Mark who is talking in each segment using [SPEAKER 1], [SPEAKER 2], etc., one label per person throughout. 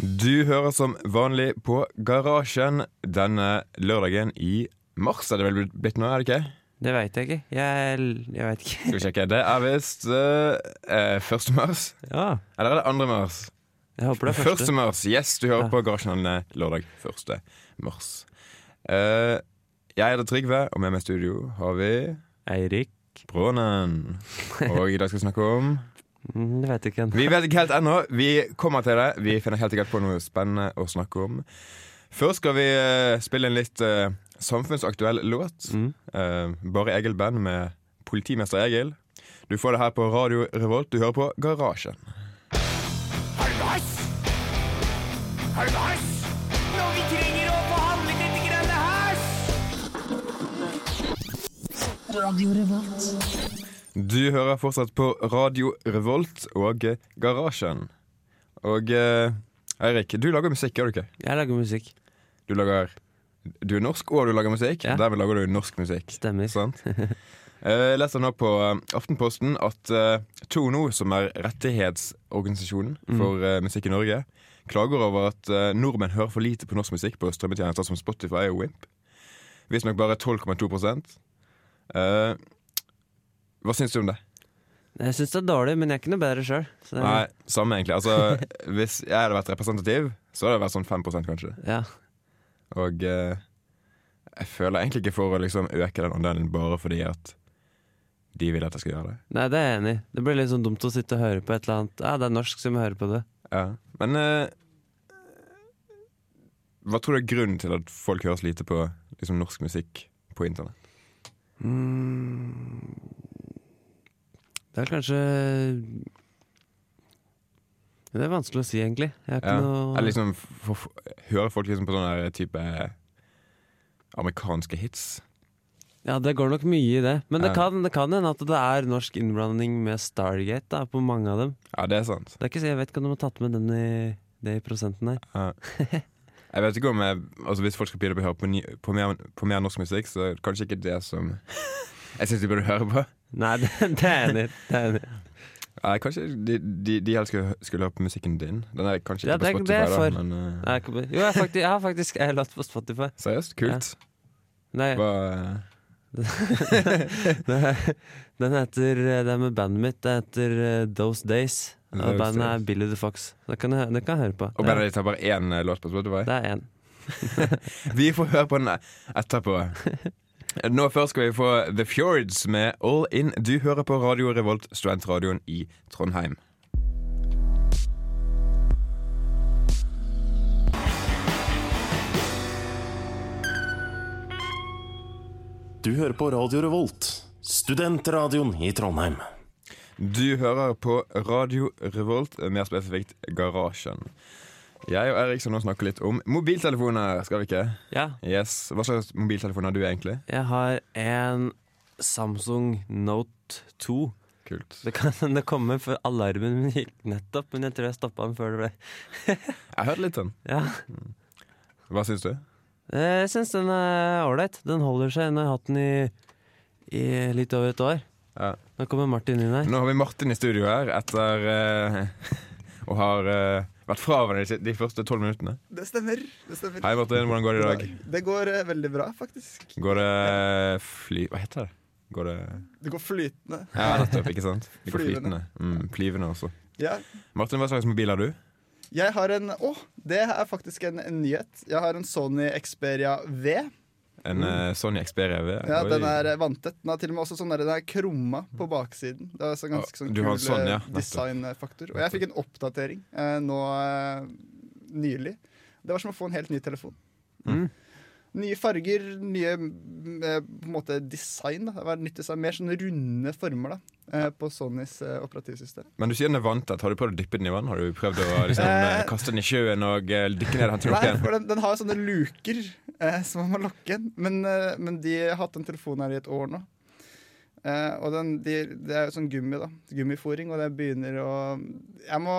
[SPEAKER 1] Du hører som vanlig på Garasjen denne lørdagen i mars. Er det vel blitt nå, er det ikke?
[SPEAKER 2] Det veit jeg ikke. Jeg, jeg veit ikke.
[SPEAKER 1] Skal vi sjekke. Det er visst eh, 1. mars.
[SPEAKER 2] Ja,
[SPEAKER 1] Eller er det 2. mars?
[SPEAKER 2] jeg håper det er første.
[SPEAKER 1] 1. mars. Yes, du hører
[SPEAKER 2] Ja.
[SPEAKER 1] på Garasjen denne lørdag 1. mars. Eh, jeg heter Trygve, og med meg i studio har vi
[SPEAKER 2] Eirik.
[SPEAKER 1] Brånen. Og i dag skal vi snakke om
[SPEAKER 2] Mm, Det veit jeg ikke.
[SPEAKER 1] Vi vet ikke helt ennå. Vi kommer til det. Vi finner helt sikkert på noe spennende å snakke om. Først skal vi eh, spille en litt eh, samfunnsaktuell låt.
[SPEAKER 2] Mm.
[SPEAKER 1] Eh, Bare Egil Band med Politimester Egil. Du får det her på Radio Revolt. Du hører på Garasjen.
[SPEAKER 3] Hallais! Hallais! Når vi trenger å få handlet litt grann hæs!
[SPEAKER 1] Du hører fortsatt på Radio Revolt og eh, Garasjen. Og eh, Eirik, du lager musikk, gjør du ikke?
[SPEAKER 2] Jeg lager musikk.
[SPEAKER 1] Du lager Du er norsk, og du lager musikk.
[SPEAKER 2] Ja.
[SPEAKER 1] Dermed lager du norsk musikk.
[SPEAKER 2] Stemmer.
[SPEAKER 1] Sant? Jeg leste nå på eh, Aftenposten at eh, Tono, som er rettighetsorganisasjonen for eh, musikk i Norge, klager over at eh, nordmenn hører for lite på norsk musikk på strømmetjenester som Spotify og Wimp. Visstnok bare 12,2 Eh, Hva syns du om det?
[SPEAKER 2] Jeg syns det er dårlig, men jeg er ikke noe bedre sjøl.
[SPEAKER 1] Nei, Samme, egentlig. Altså, hvis jeg hadde vært representativ, så hadde det vært sånn 5 kanskje.
[SPEAKER 2] Ja.
[SPEAKER 1] Og eh, jeg føler egentlig ikke for å liksom øke den andelen bare fordi at de vil at jeg skal gjøre det.
[SPEAKER 2] Nei, det er jeg enig i. Det blir litt sånn dumt å sitte og høre på et eller annet. Ja, det er norsk, så vi må høre på det.
[SPEAKER 1] Ja, men eh, Hva tror du er grunnen til at folk høres lite på liksom, norsk musikk på internett? Mm.
[SPEAKER 2] Det er kanskje Det er vanskelig å si, egentlig. Jeg har ikke
[SPEAKER 1] Ja.
[SPEAKER 2] noe
[SPEAKER 1] Eller liksom f- f- Hører folk liksom på sånne der type amerikanske hits?
[SPEAKER 2] Ja, det går nok mye i det. Men det
[SPEAKER 1] liksom- Ja.
[SPEAKER 2] kan det kan hende at det er norsk innblanding med Stargate da, på mange av dem.
[SPEAKER 1] Ja, det er sant.
[SPEAKER 2] Det er ikke, så- jeg vet ikke om de har tatt med den i, det i prosenten her.
[SPEAKER 1] Jeg vet ikke om jeg, altså Hvis folk skal begynne å høre på, ny, på, mer, på mer norsk musikk, så er det kanskje ikke det som jeg syns de burde høre på.
[SPEAKER 2] Nei, det, det er jeg enig i. Det er jeg enig i.
[SPEAKER 1] Nei, kanskje de, de, de helst skulle, skulle høre på musikken din. Den er kanskje ikke
[SPEAKER 2] Ja, det-
[SPEAKER 1] på
[SPEAKER 2] det er
[SPEAKER 1] Spotify, da,
[SPEAKER 2] for.
[SPEAKER 1] men eh,
[SPEAKER 2] Nei, jeg kommer- Jo, jeg, har faktisk, jeg har faktisk en låt på Spotify.
[SPEAKER 1] seriøst, kult.
[SPEAKER 2] Nei,
[SPEAKER 1] Hva, eh,
[SPEAKER 2] det- den heter Det er med bandet mitt. Det heter eh, Those Days. Og
[SPEAKER 1] Those
[SPEAKER 2] bandet er
[SPEAKER 1] Days.
[SPEAKER 2] Billy the Fox. Det kan jeg, det kan jeg høre på.
[SPEAKER 1] og
[SPEAKER 2] Det er-
[SPEAKER 1] bandet ditt har bare én eh, låt på Spotify?
[SPEAKER 2] Det er én.
[SPEAKER 1] Vi får høre på den e- etterpå. Nå først skal vi få The Fjords med All In. Du hører på Radio Revolt, studentradioen i Trondheim.
[SPEAKER 4] Du hører på Radio Revolt, studentradioen i Trondheim.
[SPEAKER 1] Du hører på Radio Revolt, mer spesifikt Garasjen. Jeg og Erik skal nå snakke litt om mobiltelefoner, skal vi ikke?
[SPEAKER 2] Ja,
[SPEAKER 1] Yes, Hva slags mobiltelefon har du egentlig?
[SPEAKER 2] jeg har en Samsung Note 2.
[SPEAKER 1] Kult.
[SPEAKER 2] Det kan hende komme, for alarmen min gikk nettopp, men jeg tror jeg stoppa den før det ble
[SPEAKER 1] Jeg hørte litt sånn.
[SPEAKER 2] Ja.
[SPEAKER 1] Hva syns du?
[SPEAKER 2] Eh, Jeg syns den er ålreit. Den holder seg. Nå har jeg hatt den i, i litt over et år.
[SPEAKER 1] Ja.
[SPEAKER 2] Nå kommer Martin inn her.
[SPEAKER 1] Nå har vi Martin i studio her etter eh, Og har eh, vært fra hverandre de første tolv minuttene.
[SPEAKER 5] Det stemmer. det stemmer
[SPEAKER 1] Hei, Martin. Hvordan går det i dag?
[SPEAKER 5] Det går eh, veldig bra, faktisk.
[SPEAKER 1] Går det fly... Hva heter det? Går det
[SPEAKER 5] Det går flytende.
[SPEAKER 1] Ja, nettopp, ikke sant? Det går flytende. Mm, flyvende også.
[SPEAKER 5] Ja.
[SPEAKER 1] Martin, hva slags mobil har du?
[SPEAKER 5] Jeg har en Å, det er faktisk en, en nyhet. Jeg har en Sony Xperia V.
[SPEAKER 1] En eh, Sony Xperia V?
[SPEAKER 5] Mm. Ja,
[SPEAKER 1] Oi.
[SPEAKER 5] Den er eh, vanntett. Den er til og med også sånn der, den er krumma på baksiden. Det er så ganske sånn
[SPEAKER 1] Du har
[SPEAKER 5] kul
[SPEAKER 1] en sånn, ja,
[SPEAKER 5] eh,
[SPEAKER 1] nettopp.
[SPEAKER 5] designfaktor. Og jeg fikk en oppdatering eh, nå eh, nylig. Det var som å få en helt ny telefon.
[SPEAKER 2] Mm.
[SPEAKER 5] Nye farger, nye mm, eh, på en måte design. da Det var nytt design, Mer sånne runde former da eh, på Sonys eh, operativsystem.
[SPEAKER 1] Men du sier den er vanntett. Har du prøvd å dyppe den i vann? Har du prøvd å liksom, eh,
[SPEAKER 5] Eh.
[SPEAKER 1] kaste den i sjøen og eh, dykke ned og hente den opp
[SPEAKER 5] Nei,
[SPEAKER 1] igjen?
[SPEAKER 5] for den, den har sånne luker eh, som man må lokke inn. Men, eh, men de har hatt den telefonen her i et år nå. Eh, og den, de, det er jo sånn gummi, da. Gummifòring, og det begynner å Jeg må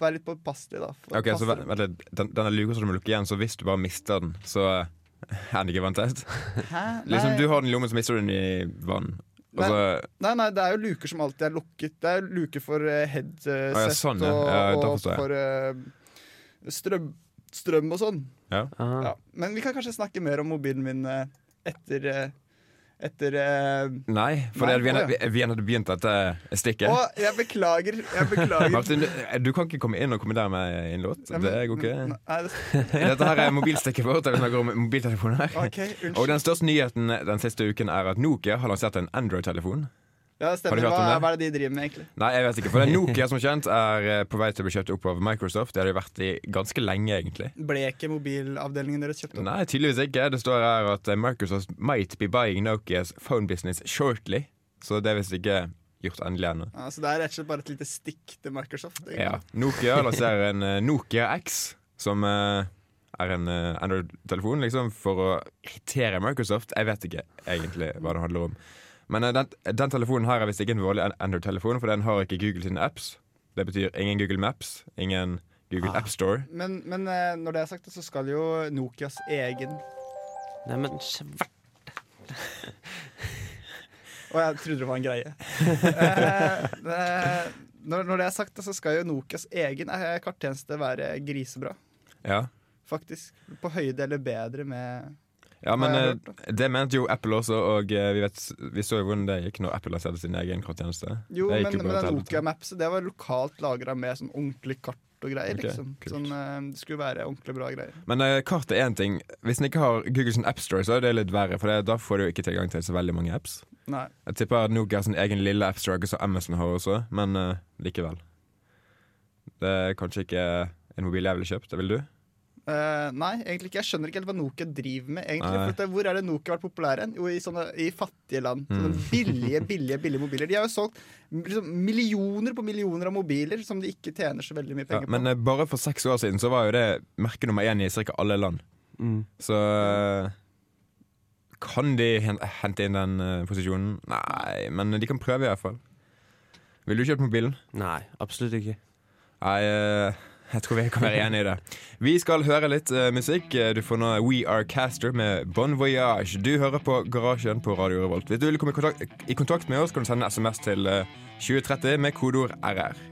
[SPEAKER 5] være litt påpasselig, da. for-
[SPEAKER 1] Ok, så
[SPEAKER 5] passe-
[SPEAKER 1] vent vent litt. Den, den er luka så du må lukke igjen, så hvis du bare mister den, så eh, er den ikke vanntett?
[SPEAKER 5] Hæ? Nei,
[SPEAKER 1] Liksom, du har altså- den i lommen, så mister du den i vann. Og så
[SPEAKER 5] nei, nei, det er jo luker som alltid er lukket. Det er luker for eh, headset
[SPEAKER 1] Ah, ja, sånn, ja.
[SPEAKER 5] og,
[SPEAKER 1] Ja, da
[SPEAKER 5] og
[SPEAKER 1] forstår jeg.
[SPEAKER 5] for eh, strøm, strøm og sånn.
[SPEAKER 1] Ja.
[SPEAKER 2] Aha.
[SPEAKER 5] Ja. Men vi kan kanskje snakke mer om mobilen min eh, etter eh, Etter eh,
[SPEAKER 1] Nei, for
[SPEAKER 5] Nei,
[SPEAKER 1] det- vi,
[SPEAKER 5] å, ja.
[SPEAKER 1] vi, vi hadde begynt dette stikket.
[SPEAKER 5] Å, jeg beklager! Jeg beklager.
[SPEAKER 1] Martin, du, du kan ikke komme inn og komme der med en låt.
[SPEAKER 5] Ja, men-
[SPEAKER 1] Det går ikke.
[SPEAKER 5] Nei, det,
[SPEAKER 1] Dette her er mobilstikket vårt. Der vi snakker om mobiltelefoner.
[SPEAKER 5] ok,
[SPEAKER 1] Og
[SPEAKER 5] unnskyld.
[SPEAKER 1] den største nyheten den siste uken er at Nokia har lansert en Android-telefon.
[SPEAKER 5] Ja, det
[SPEAKER 1] Har du
[SPEAKER 5] stemmer.
[SPEAKER 1] hørt om
[SPEAKER 5] Hva,
[SPEAKER 1] det?
[SPEAKER 5] hva er det de driver med, egentlig?
[SPEAKER 1] Nei, jeg vet ikke, for det er Nokia som kjent er eh, på vei til å bli kjøpt opp av Microsoft. Det har de vært i ganske lenge, egentlig.
[SPEAKER 5] Ble ikke mobilavdelingen deres kjøpt opp?
[SPEAKER 1] Nei, tydeligvis ikke. Det står her at eh, Microsoft might be buying Nokias phone business shortly. Så det er visst ikke gjort endelig ennå.
[SPEAKER 5] Ja, så det er rett og slett bare et lite stikk til Microsoft? egentlig.
[SPEAKER 1] Ja. Nokia lanserer en eh, Nokia X, som eh, er en eh, Android-telefon, liksom, for å irritere Microsoft. Jeg vet ikke egentlig hva det handler om. Men eh, den, den telefonen her er visst ikke en vanlig an- Android-telefon, for den har ikke Google sine apps. Det betyr ingen Google Maps, ingen Google
[SPEAKER 5] Ah.
[SPEAKER 1] App Store.
[SPEAKER 5] Men, men eh, når det er sagt, så skal jo Nokias egen
[SPEAKER 2] Nei, men svart.
[SPEAKER 5] Og jeg trodde det var en greie. Eh, det- når, når det er sagt, så skal jo Nokias egen eh, karttjeneste være grisebra.
[SPEAKER 1] Ja.
[SPEAKER 5] Faktisk. På høyde eller bedre med
[SPEAKER 1] Ja, men
[SPEAKER 5] Har jeg
[SPEAKER 1] eh, det mente jo Apple også, og eh, vi, vet, vi så jo hvordan det gikk når Apple lanserte sin egen karttjeneste.
[SPEAKER 5] Jo,
[SPEAKER 1] Det
[SPEAKER 5] men,
[SPEAKER 1] gikk jo
[SPEAKER 5] men
[SPEAKER 1] på et
[SPEAKER 5] den
[SPEAKER 1] helvete.
[SPEAKER 5] Nokia Maps det var lokalt lagra med sånn ordentlig kart og greier.
[SPEAKER 1] Ok,
[SPEAKER 5] liksom.
[SPEAKER 1] kult.
[SPEAKER 5] Sånn, eh, det skulle være ordentlig bra greier.
[SPEAKER 1] Men eh, kart er én ting. Hvis den ikke har Google sin appstore, så er det litt verre. For det, da får du jo ikke tilgang til så veldig mange apps.
[SPEAKER 5] Nei.
[SPEAKER 1] Jeg tipper at Nokia har sin egen lille appstore, akkurat som Amazon har også, men eh, likevel. Det er kanskje ikke en mobil jeg ville kjøpt. Det vil du?
[SPEAKER 5] Eh, nei, egentlig ikke. Jeg skjønner ikke helt hva Nokia driver med. egentlig
[SPEAKER 1] Nei.
[SPEAKER 5] for at, eh, Hvor er det Nokia har vært populære? hen? Jo, i, sånne, i fattige land. Sånne
[SPEAKER 1] Mm.
[SPEAKER 5] billige, billige billige mobiler. De har jo solgt liksom, millioner på millioner av mobiler som de ikke tjener så veldig mye
[SPEAKER 1] Ja,
[SPEAKER 5] penger på.
[SPEAKER 1] men eh, bare for seks år siden så var jo det merke nummer én i ca. alle land.
[SPEAKER 2] Mm.
[SPEAKER 1] Så eh, kan de hen- hente inn den eh, posisjonen? Nei, men de kan prøve i hvert fall. Vil du kjøpe mobilen?
[SPEAKER 2] Nei, absolutt ikke.
[SPEAKER 1] Nei, eh, jeg tror vi kan være enige i det. Vi skal høre litt eh, musikk. Du får nå We Are Caster med Bon Voyage. Du hører på Garasjen på Radio Revolt. Hvis du vil komme i kontakt, i kontakt med oss, kan du sende SMS til eh, 2030 med kodeord RR.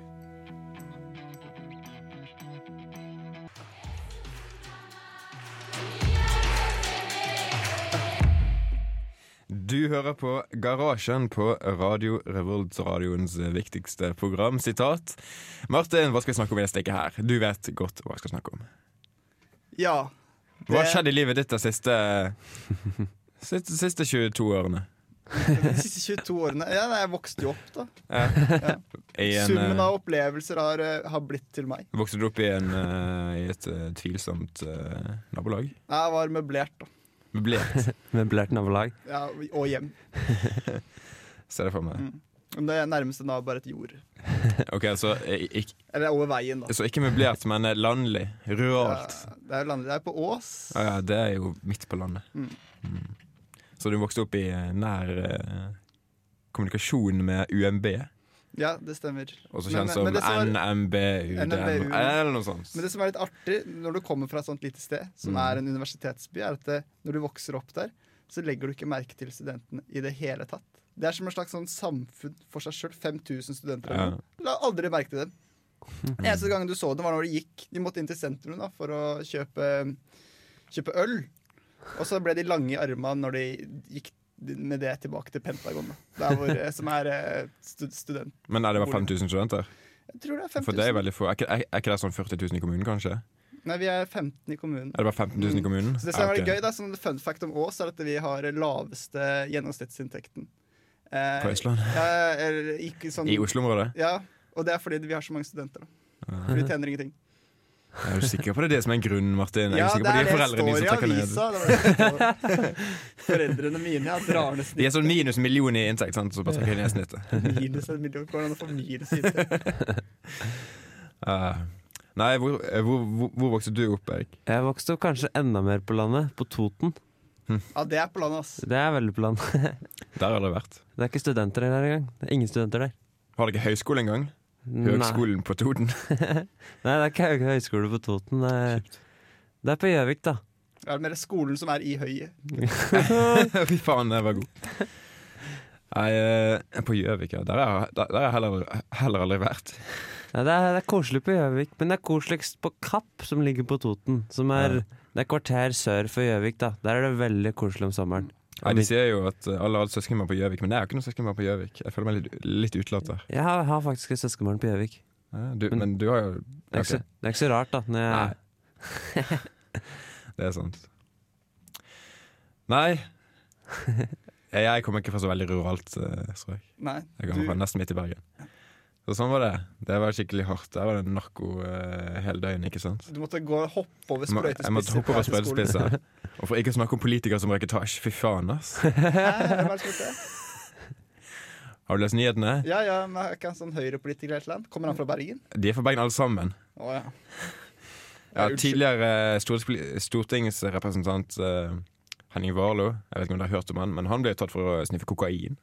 [SPEAKER 1] Du hører på Garasjen på Radio Revolt, radioens viktigste program. Sitat. Martin, hva skal vi snakke om i det stikket her? Du vet godt hva jeg skal snakke om.
[SPEAKER 5] Ja.
[SPEAKER 1] Hva har
[SPEAKER 5] Det-
[SPEAKER 1] skjedd i livet ditt de siste, siste, siste 22 årene?
[SPEAKER 5] De siste 22 årene Ja, nei, jeg vokste jo opp, da.
[SPEAKER 1] I en,
[SPEAKER 5] Summen
[SPEAKER 1] eh,
[SPEAKER 5] av opplevelser har, eh, har blitt til meg.
[SPEAKER 1] Vokste du opp i, en, eh, i et eh, tvilsomt eh, nabolag?
[SPEAKER 5] Nei, Jeg var møblert, da.
[SPEAKER 1] Møblert,
[SPEAKER 2] Møblert nabolag.
[SPEAKER 5] Ja, og hjem.
[SPEAKER 1] ser jeg for
[SPEAKER 5] Mm.
[SPEAKER 1] meg.
[SPEAKER 5] Men Det nærmeste nå er bare et jord.
[SPEAKER 1] Ok, så, eh, ikk-
[SPEAKER 5] Eller over veien, da.
[SPEAKER 1] så ikke møblert, men eh, landlig. Ruralt.
[SPEAKER 5] Ja, Det er jo landet. Det er på Ås.
[SPEAKER 1] Ja, ja, det er jo midt på landet.
[SPEAKER 5] Mm.
[SPEAKER 1] Mm. Så du vokste opp i eh, nær eh, kommunikasjon med UMB,
[SPEAKER 5] Ja, det stemmer.
[SPEAKER 1] også
[SPEAKER 5] Men-
[SPEAKER 1] kjent som
[SPEAKER 5] men det som er-
[SPEAKER 1] NMBUDM,
[SPEAKER 5] NMBU.
[SPEAKER 1] eller noe sånt.
[SPEAKER 5] Men det som er litt artig når du kommer fra et sånt lite sted, som
[SPEAKER 1] Mm.
[SPEAKER 5] er en universitetsby, er at det, når du vokser opp der, så legger du ikke merke til studentene i det hele tatt. Det er som et slags sånn samfunn for seg sjøl. 5000 studenter. eller
[SPEAKER 1] Ja.
[SPEAKER 5] noe. La aldri merke til dem. Eneste gangen du så dem, var når de gikk. De måtte inn til sentrum da, for å kjøpe, kjøpe øl. Og så ble de lange i armene når de gikk med det tilbake til Pentagon, da. Der hvor, som er eh, stud student.
[SPEAKER 1] Men er det bare 5000 studenter?
[SPEAKER 5] Jeg tror det er
[SPEAKER 1] For det er
[SPEAKER 5] 5000.
[SPEAKER 1] veldig få. Er ikke, er, er ikke det sånn 40 000 i kommunen, kanskje?
[SPEAKER 5] Nei, vi er 15 i kommunen.
[SPEAKER 1] Er det bare 15 000 i kommunen?
[SPEAKER 5] Mm. Så det som
[SPEAKER 1] Ja,
[SPEAKER 5] er
[SPEAKER 1] Ah, ok.
[SPEAKER 5] gøy da, sånn Fun fact om Ås er at vi har laveste gjennomsnittsinntekten. Eh,
[SPEAKER 1] På Østlandet?
[SPEAKER 5] Ja, eller ikke sånn,
[SPEAKER 1] I Oslo-området?
[SPEAKER 5] Ja, og det er fordi vi har så mange studenter. Da.
[SPEAKER 1] Ah.
[SPEAKER 5] For de tjener ingenting.
[SPEAKER 1] Er du sikker på det er det som er grunnen, Martin? Er
[SPEAKER 5] Ja,
[SPEAKER 1] du sikker
[SPEAKER 5] det
[SPEAKER 1] på
[SPEAKER 5] er
[SPEAKER 1] de
[SPEAKER 5] det
[SPEAKER 1] foreldrene
[SPEAKER 5] står
[SPEAKER 1] dine
[SPEAKER 5] i
[SPEAKER 1] som trekker ned?
[SPEAKER 5] avisa. Det var det som står. Foreldrene mine ja, drar ned
[SPEAKER 1] De er
[SPEAKER 5] snittet.
[SPEAKER 1] sånn minus million i inntekt, sant? så bare trekker de ned snittet.
[SPEAKER 5] Minus en million kroner for minus inntekt.
[SPEAKER 1] Ah. nei, hvor, eh, hvor, hvor, hvor vokste du opp, Erik?
[SPEAKER 2] Jeg vokste opp kanskje enda mer på landet, på Toten.
[SPEAKER 5] Ja, det er på landet, ass.
[SPEAKER 2] Det er veldig på landet.
[SPEAKER 1] Der har du vært.
[SPEAKER 2] Det er ikke studenter der engang. Det er ingen studenter der.
[SPEAKER 1] Har dere høyskole engang? Høgskolen på Toten?
[SPEAKER 2] Nei. Nei, det er ikke høy- høyskole på Toten. Det er, det er på Gjøvik, da.
[SPEAKER 5] Det er mer skolen som er i høyet.
[SPEAKER 1] Fy faen, den var god. Nei, eh, på Gjøvik, ja. Der har jeg- der- der har jeg heller, heller aldri vært.
[SPEAKER 2] Ja, det, er, det er koselig på Gjøvik, men det er koseligst på Kapp, som ligger på Toten. Som er, Det er kvarter sør for Gjøvik, da. Der er det veldig koselig om sommeren.
[SPEAKER 1] Nei, De sier jo at eh, alle hadde søskenbarn på Gjøvik, men jeg har ikke noe søskenbarn på Gjøvik. Jeg føler meg litt, litt utelatt der.
[SPEAKER 2] Jeg har, har faktisk et søskenbarn på Gjøvik.
[SPEAKER 1] Ja, Du, men du har jo
[SPEAKER 2] Det, er ikke
[SPEAKER 1] ok.
[SPEAKER 2] så- det er ikke så rart, da. Når jeg,
[SPEAKER 1] Det er sant. Nei. Jeg- Jeg kommer ikke fra så veldig ruralt eh, strøk.
[SPEAKER 5] Nei,
[SPEAKER 1] Jeg kommer fra
[SPEAKER 5] du-
[SPEAKER 1] nesten midt i Bergen. Så sånn var det. Det var skikkelig hardt. Der var det narko eh, hele døgnet, ikke sant?
[SPEAKER 5] du måtte gå og hoppe over
[SPEAKER 1] Jeg må-
[SPEAKER 5] sprøytespisser.
[SPEAKER 1] jeg måtte hoppe
[SPEAKER 5] på
[SPEAKER 1] over
[SPEAKER 5] vei til skolen.
[SPEAKER 1] sprøytespisser. Og for ikke å snakke om politikere som røyker tasj. Fy faen, ass.
[SPEAKER 5] Hæ? Hva er det som heter det?
[SPEAKER 1] Har du lest nyhetene?
[SPEAKER 5] Ja, ja, men er ikke han sånn høyrepolitiker eller et eller annet? Kommer han fra Bergen?
[SPEAKER 1] De er fra Bergen alle sammen.
[SPEAKER 5] Å ja.
[SPEAKER 1] Ja,
[SPEAKER 5] Unnskyld.
[SPEAKER 1] tidligere stortingspoliti- stortingsrepresentant eh, Henning Warloe, jeg vet ikke om dere har hørt om han, men han ble jo tatt for å sniffe kokain.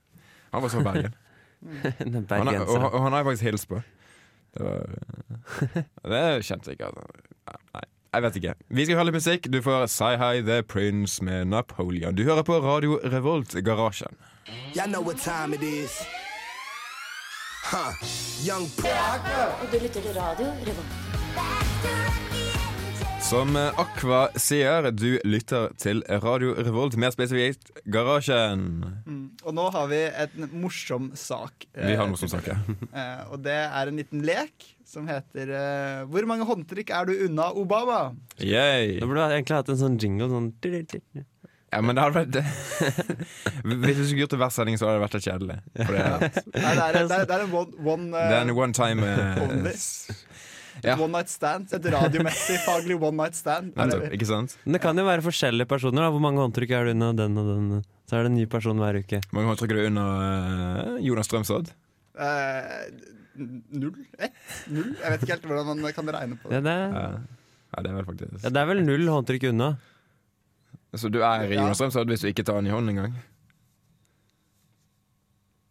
[SPEAKER 1] Han var også fra Bergen.
[SPEAKER 2] den
[SPEAKER 1] Han er, og,
[SPEAKER 2] bergenseren.
[SPEAKER 1] og han har jeg faktisk hilst på. Det var Det kjente jeg ikke. Altså. Nei, jeg vet ikke. Vi skal høre litt musikk. Du får Si Hi The Prince med Napoleon. Du hører på Radio Revolt Garasjen.
[SPEAKER 6] Y'all know what time it is. Huh. Young
[SPEAKER 7] Og du lytter til radio Revolt.
[SPEAKER 1] Som eh, Aqua sier, du lytter til Radio Revolt, mer spesifikt Garasjen.
[SPEAKER 5] Og nå har vi en morsom sak. eh,
[SPEAKER 1] Vi har noe som snakker.
[SPEAKER 5] eh, Og det er en liten lek som heter eh, Hvor mange håndtrykk er du unna Obama?
[SPEAKER 2] Da
[SPEAKER 1] Yay.
[SPEAKER 2] burde du egentlig hatt en sånn jingle sånn
[SPEAKER 1] Ja, men det hadde vært Hvis du skulle gjort det hver sending, så hadde det vært litt kjedelig. For det, er-
[SPEAKER 5] Nei, det, er, det, er, det er en one, one, eh,
[SPEAKER 1] det er en one time eh,
[SPEAKER 5] Only.
[SPEAKER 1] s- ja.
[SPEAKER 5] one night stand. Et radiomessig faglig one night stand.
[SPEAKER 1] Nettopp, ikke sant?
[SPEAKER 2] Men det kan jo være forskjellige personer. da Hvor mange håndtrykk er du unna den og den? Så er det en ny person hver uke.
[SPEAKER 1] Hvor mange håndtrykk er du under eh, Jonas Strømsodd?
[SPEAKER 5] Eh, null? Ett? Null? Jeg vet ikke helt hvordan man kan regne på det.
[SPEAKER 2] Ja, det er,
[SPEAKER 1] Ja. ja, det er vel faktisk
[SPEAKER 2] ja, det er vel null håndtrykk unna.
[SPEAKER 1] Så du er i
[SPEAKER 5] Ja.
[SPEAKER 1] Jonas Strømsodd hvis du ikke tar han i hånden engang?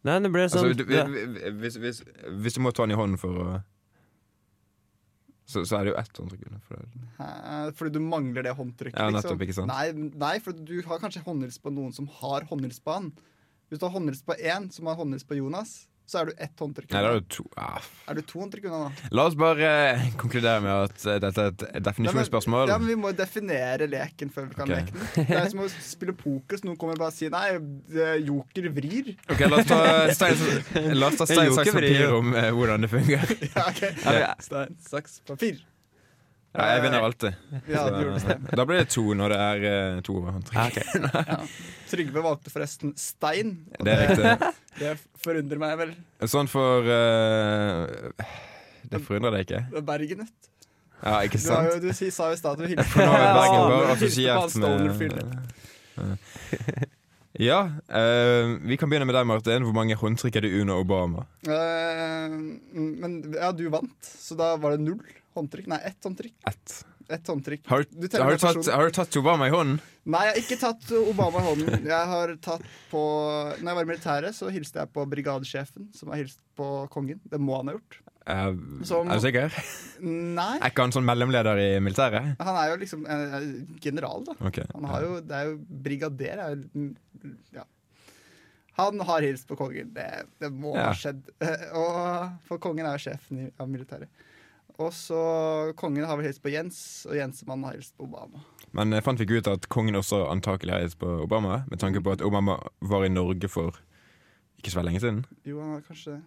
[SPEAKER 2] Nei, det ble
[SPEAKER 1] Altså,
[SPEAKER 2] sånn
[SPEAKER 1] du-
[SPEAKER 2] det-
[SPEAKER 1] vi- vi- hvis, hvis, hvis du må ta han i hånden for å så, så er det jo ett håndtrykk under. For det.
[SPEAKER 5] Hæ? Eh, Fordi du mangler det håndtrykket. liksom.
[SPEAKER 1] Ja, nettopp, ikke sant?
[SPEAKER 5] Nei, nei, for du har kanskje håndhils på noen som har håndhils på han. Hvis du har håndhils på én som har håndhils på Jonas, så er du ett håndtrykk
[SPEAKER 1] Nei,
[SPEAKER 5] unna.
[SPEAKER 1] da er det to ah.
[SPEAKER 5] Er du to håndtrykk unna, da?
[SPEAKER 1] La oss bare eh, konkludere med at eh, dette er et
[SPEAKER 5] Nei, men-
[SPEAKER 1] definisjonsspørsmål.
[SPEAKER 5] Ja, men Vi må jo definere leken før vi kan
[SPEAKER 1] Ok.
[SPEAKER 5] leke den. Det er som å spille poker, så noen kommer bare og sier nei, eh, joker vrir.
[SPEAKER 1] Ok, La oss ta stein, la oss ta stein
[SPEAKER 2] Jeg gjorde
[SPEAKER 1] saks
[SPEAKER 2] ikke vri.
[SPEAKER 1] papir om eh, hvordan det fungerer.
[SPEAKER 5] Ja, ok.
[SPEAKER 1] Ja.
[SPEAKER 5] Stein, saks, papir.
[SPEAKER 1] Ja, jeg vinner alltid.
[SPEAKER 5] Ja, du gjorde det.
[SPEAKER 1] Så, da blir det to når det er eh, to håndtrykk.
[SPEAKER 2] Ja, ok.
[SPEAKER 5] Trygve valgte forresten stein. og
[SPEAKER 1] Det er riktig.
[SPEAKER 5] det forundrer meg vel.
[SPEAKER 1] Sånn for eh, Det forundrer deg ikke?
[SPEAKER 5] Det er Bergen, vet du.
[SPEAKER 1] Ja, ikke
[SPEAKER 5] Du, har
[SPEAKER 1] sant?
[SPEAKER 5] jo, du si- sa jo i stad at du hilste
[SPEAKER 1] For nå er Bergen
[SPEAKER 5] Stoner-
[SPEAKER 1] bare altså,
[SPEAKER 5] hilste på han
[SPEAKER 1] assosiert
[SPEAKER 5] Stoner-fyren.
[SPEAKER 1] med Ja, eh, vi kan begynne med deg, Martin. Hvor mange håndtrykk er det under Obama?
[SPEAKER 5] Eh, Men ja, du vant, så da var det null håndtrykk. Nei, ett håndtrykk.
[SPEAKER 1] Ett.
[SPEAKER 5] Ett håndtrykk.
[SPEAKER 1] Har,
[SPEAKER 5] Du teller
[SPEAKER 1] har,
[SPEAKER 5] med
[SPEAKER 1] du tatt,
[SPEAKER 5] personen.
[SPEAKER 1] har du tatt Obama i hånden?
[SPEAKER 5] Nei, jeg har ikke tatt Obama i hånden. Jeg har tatt på Når jeg var i militæret, så hilste jeg på brigadesjefen, som har hilst på kongen. Det må han ha gjort.
[SPEAKER 1] Eh,
[SPEAKER 5] Som-
[SPEAKER 1] er du sikker?
[SPEAKER 5] Nei.
[SPEAKER 1] Er ikke han sånn mellomleder i militæret?
[SPEAKER 5] Han er jo liksom eh, general, da.
[SPEAKER 1] Ok.
[SPEAKER 5] Han har jo, det er jo brigader er jo, mm, ja. Han har hilst på kongen. Det, det må
[SPEAKER 1] Ja.
[SPEAKER 5] ha skjedd. Og, for kongen er jo sjefen i, av militæret. Og så Kongen har vel hilst på Jens, og Jensemannen har hilst på Obama.
[SPEAKER 1] Men jeg fant vi ikke ut at kongen også antakelig har hilst på Obama? Med tanke på at Obama var i Norge for ikke så veldig lenge siden?
[SPEAKER 5] Jo, han har kanskje